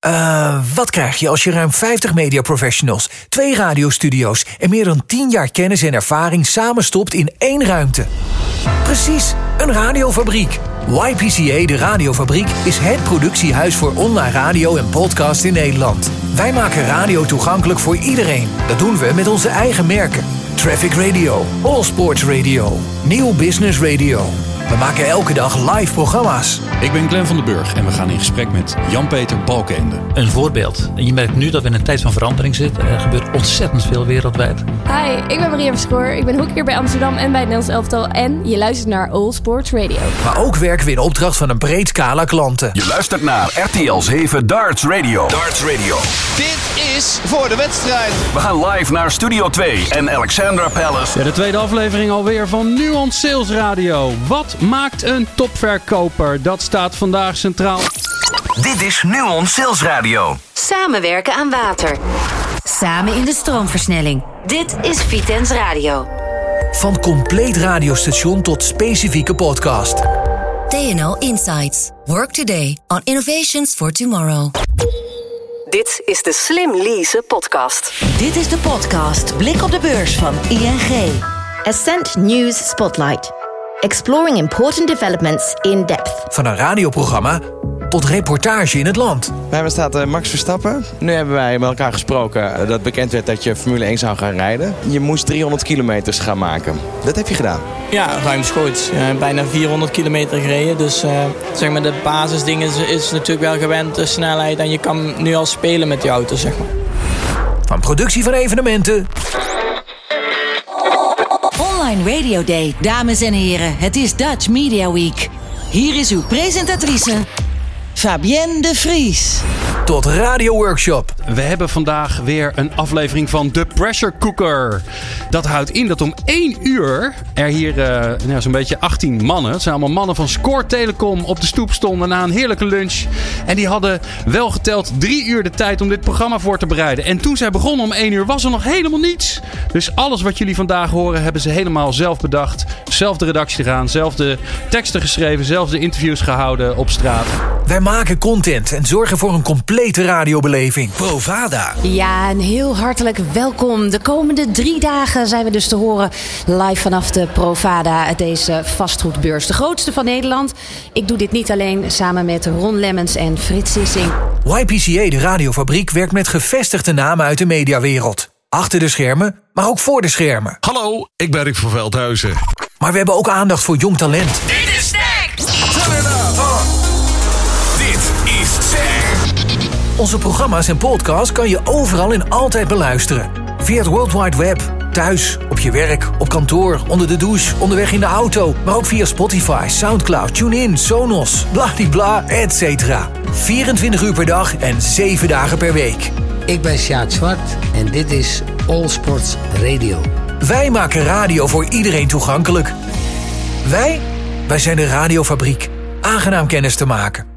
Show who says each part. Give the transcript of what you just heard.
Speaker 1: Eh, wat krijg je als je ruim 50 mediaprofessionals, twee radiostudio's en meer dan 10 jaar kennis en ervaring samenstopt in één ruimte? Precies, een radiofabriek. YPCA, de radiofabriek, is het productiehuis voor online radio en podcast in Nederland. Wij maken radio toegankelijk voor iedereen. Dat doen we met onze eigen merken. Traffic Radio, All Sports Radio, Nieuw Business Radio. We maken elke dag live programma's.
Speaker 2: Ik ben Glenn van den Burg en we gaan in gesprek met Jan-Peter Balkenende.
Speaker 3: Een voorbeeld. En je merkt nu dat we in een tijd van verandering zitten. Er gebeurt ontzettend veel wereldwijd.
Speaker 4: Hi, ik ben Maria Verschoor. Ik ben hoekier bij Amsterdam en bij het Nederlands Elftal. En je luistert naar All Sports Radio.
Speaker 1: Maar ook werken we in opdracht van een breed scala klanten.
Speaker 5: Je luistert naar RTL 7 Darts Radio. Darts Radio.
Speaker 6: Dit is voor de wedstrijd.
Speaker 5: We gaan live naar Studio 2 en Alexandra Palace.
Speaker 7: Ja, de tweede aflevering alweer van Nuance Sales Radio. Wat maakt een topverkoper? Dat staat vandaag centraal.
Speaker 5: Dit is Nuon Sales Radio.
Speaker 8: Samenwerken aan water. Samen in de stroomversnelling. Dit is Vitens Radio.
Speaker 1: Van compleet radiostation tot specifieke podcast.
Speaker 8: TNO Insights. Work today on innovations for tomorrow.
Speaker 9: Dit is de Slim Lease podcast.
Speaker 10: Dit is de podcast Blik op de beurs van ING.
Speaker 11: Ascent News Spotlight. Exploring important developments in depth.
Speaker 1: Van een radioprogramma tot reportage in het land.
Speaker 12: Bij me staat eh, Max Verstappen. Nu hebben wij met elkaar gesproken eh, dat bekend werd dat je Formule 1 zou gaan rijden. Je moest 300 kilometers gaan maken. Dat heb je gedaan.
Speaker 13: Ja, ruimschoots. Eh bijna 400 kilometer gereden. Dus eh, zeg maar de basisding is, is natuurlijk wel gewend, de snelheid. En je kan nu al spelen met die auto, zeg maar.
Speaker 1: Van productie van evenementen
Speaker 10: Online Radio Day, dames en heren. Het is Dutch Media Week. Hier is uw presentatrice, Fabienne de Vries.
Speaker 1: tot radioworkshop.
Speaker 7: We hebben vandaag weer een aflevering van The Pressure Cooker. Dat houdt in dat om 1 uur er hier eh, nou, zo'n beetje 18 mannen, het zijn allemaal mannen van Score Telecom, op de stoep stonden na een heerlijke lunch. En die hadden wel geteld 3 uur de tijd om dit programma voor te bereiden. En toen zij begonnen om 1 uur was er nog helemaal niets. Dus alles wat jullie vandaag horen hebben ze helemaal zelf bedacht. Zelf de redactie gedaan, zelf de teksten geschreven, zelf de interviews gehouden op straat.
Speaker 1: Wij maken content en zorgen voor een complete radiobeleving. Provada.
Speaker 14: Ja, een heel hartelijk welkom. De komende drie dagen zijn we dus te horen live vanaf de Provada, deze vastgoedbeurs. De grootste van Nederland. Ik doe dit niet alleen, samen met Ron Lemmens en Frits Sissing.
Speaker 1: YPCA, de radiofabriek, werkt met gevestigde namen uit de mediawereld. Achter de schermen, maar ook voor de schermen.
Speaker 15: Hallo, ik ben Rick van Veldhuizen.
Speaker 1: Maar we hebben ook aandacht voor jong talent.
Speaker 9: Dit is Stack!
Speaker 5: Dit is Tech.
Speaker 1: Onze programma's en podcasts kan je overal en altijd beluisteren. Via het World Wide Web, thuis, op je werk, op kantoor, onder de douche, onderweg in de auto. Maar ook via Spotify, Soundcloud, TuneIn, Sonos, bladibla, et cetera. 24 uur per dag en 7 dagen per week.
Speaker 16: Ik ben Sjaak Zwart en dit is All Sports Radio.
Speaker 1: Wij maken radio voor iedereen toegankelijk. Wij? Wij zijn de radiofabriek. Aangenaam kennis te maken.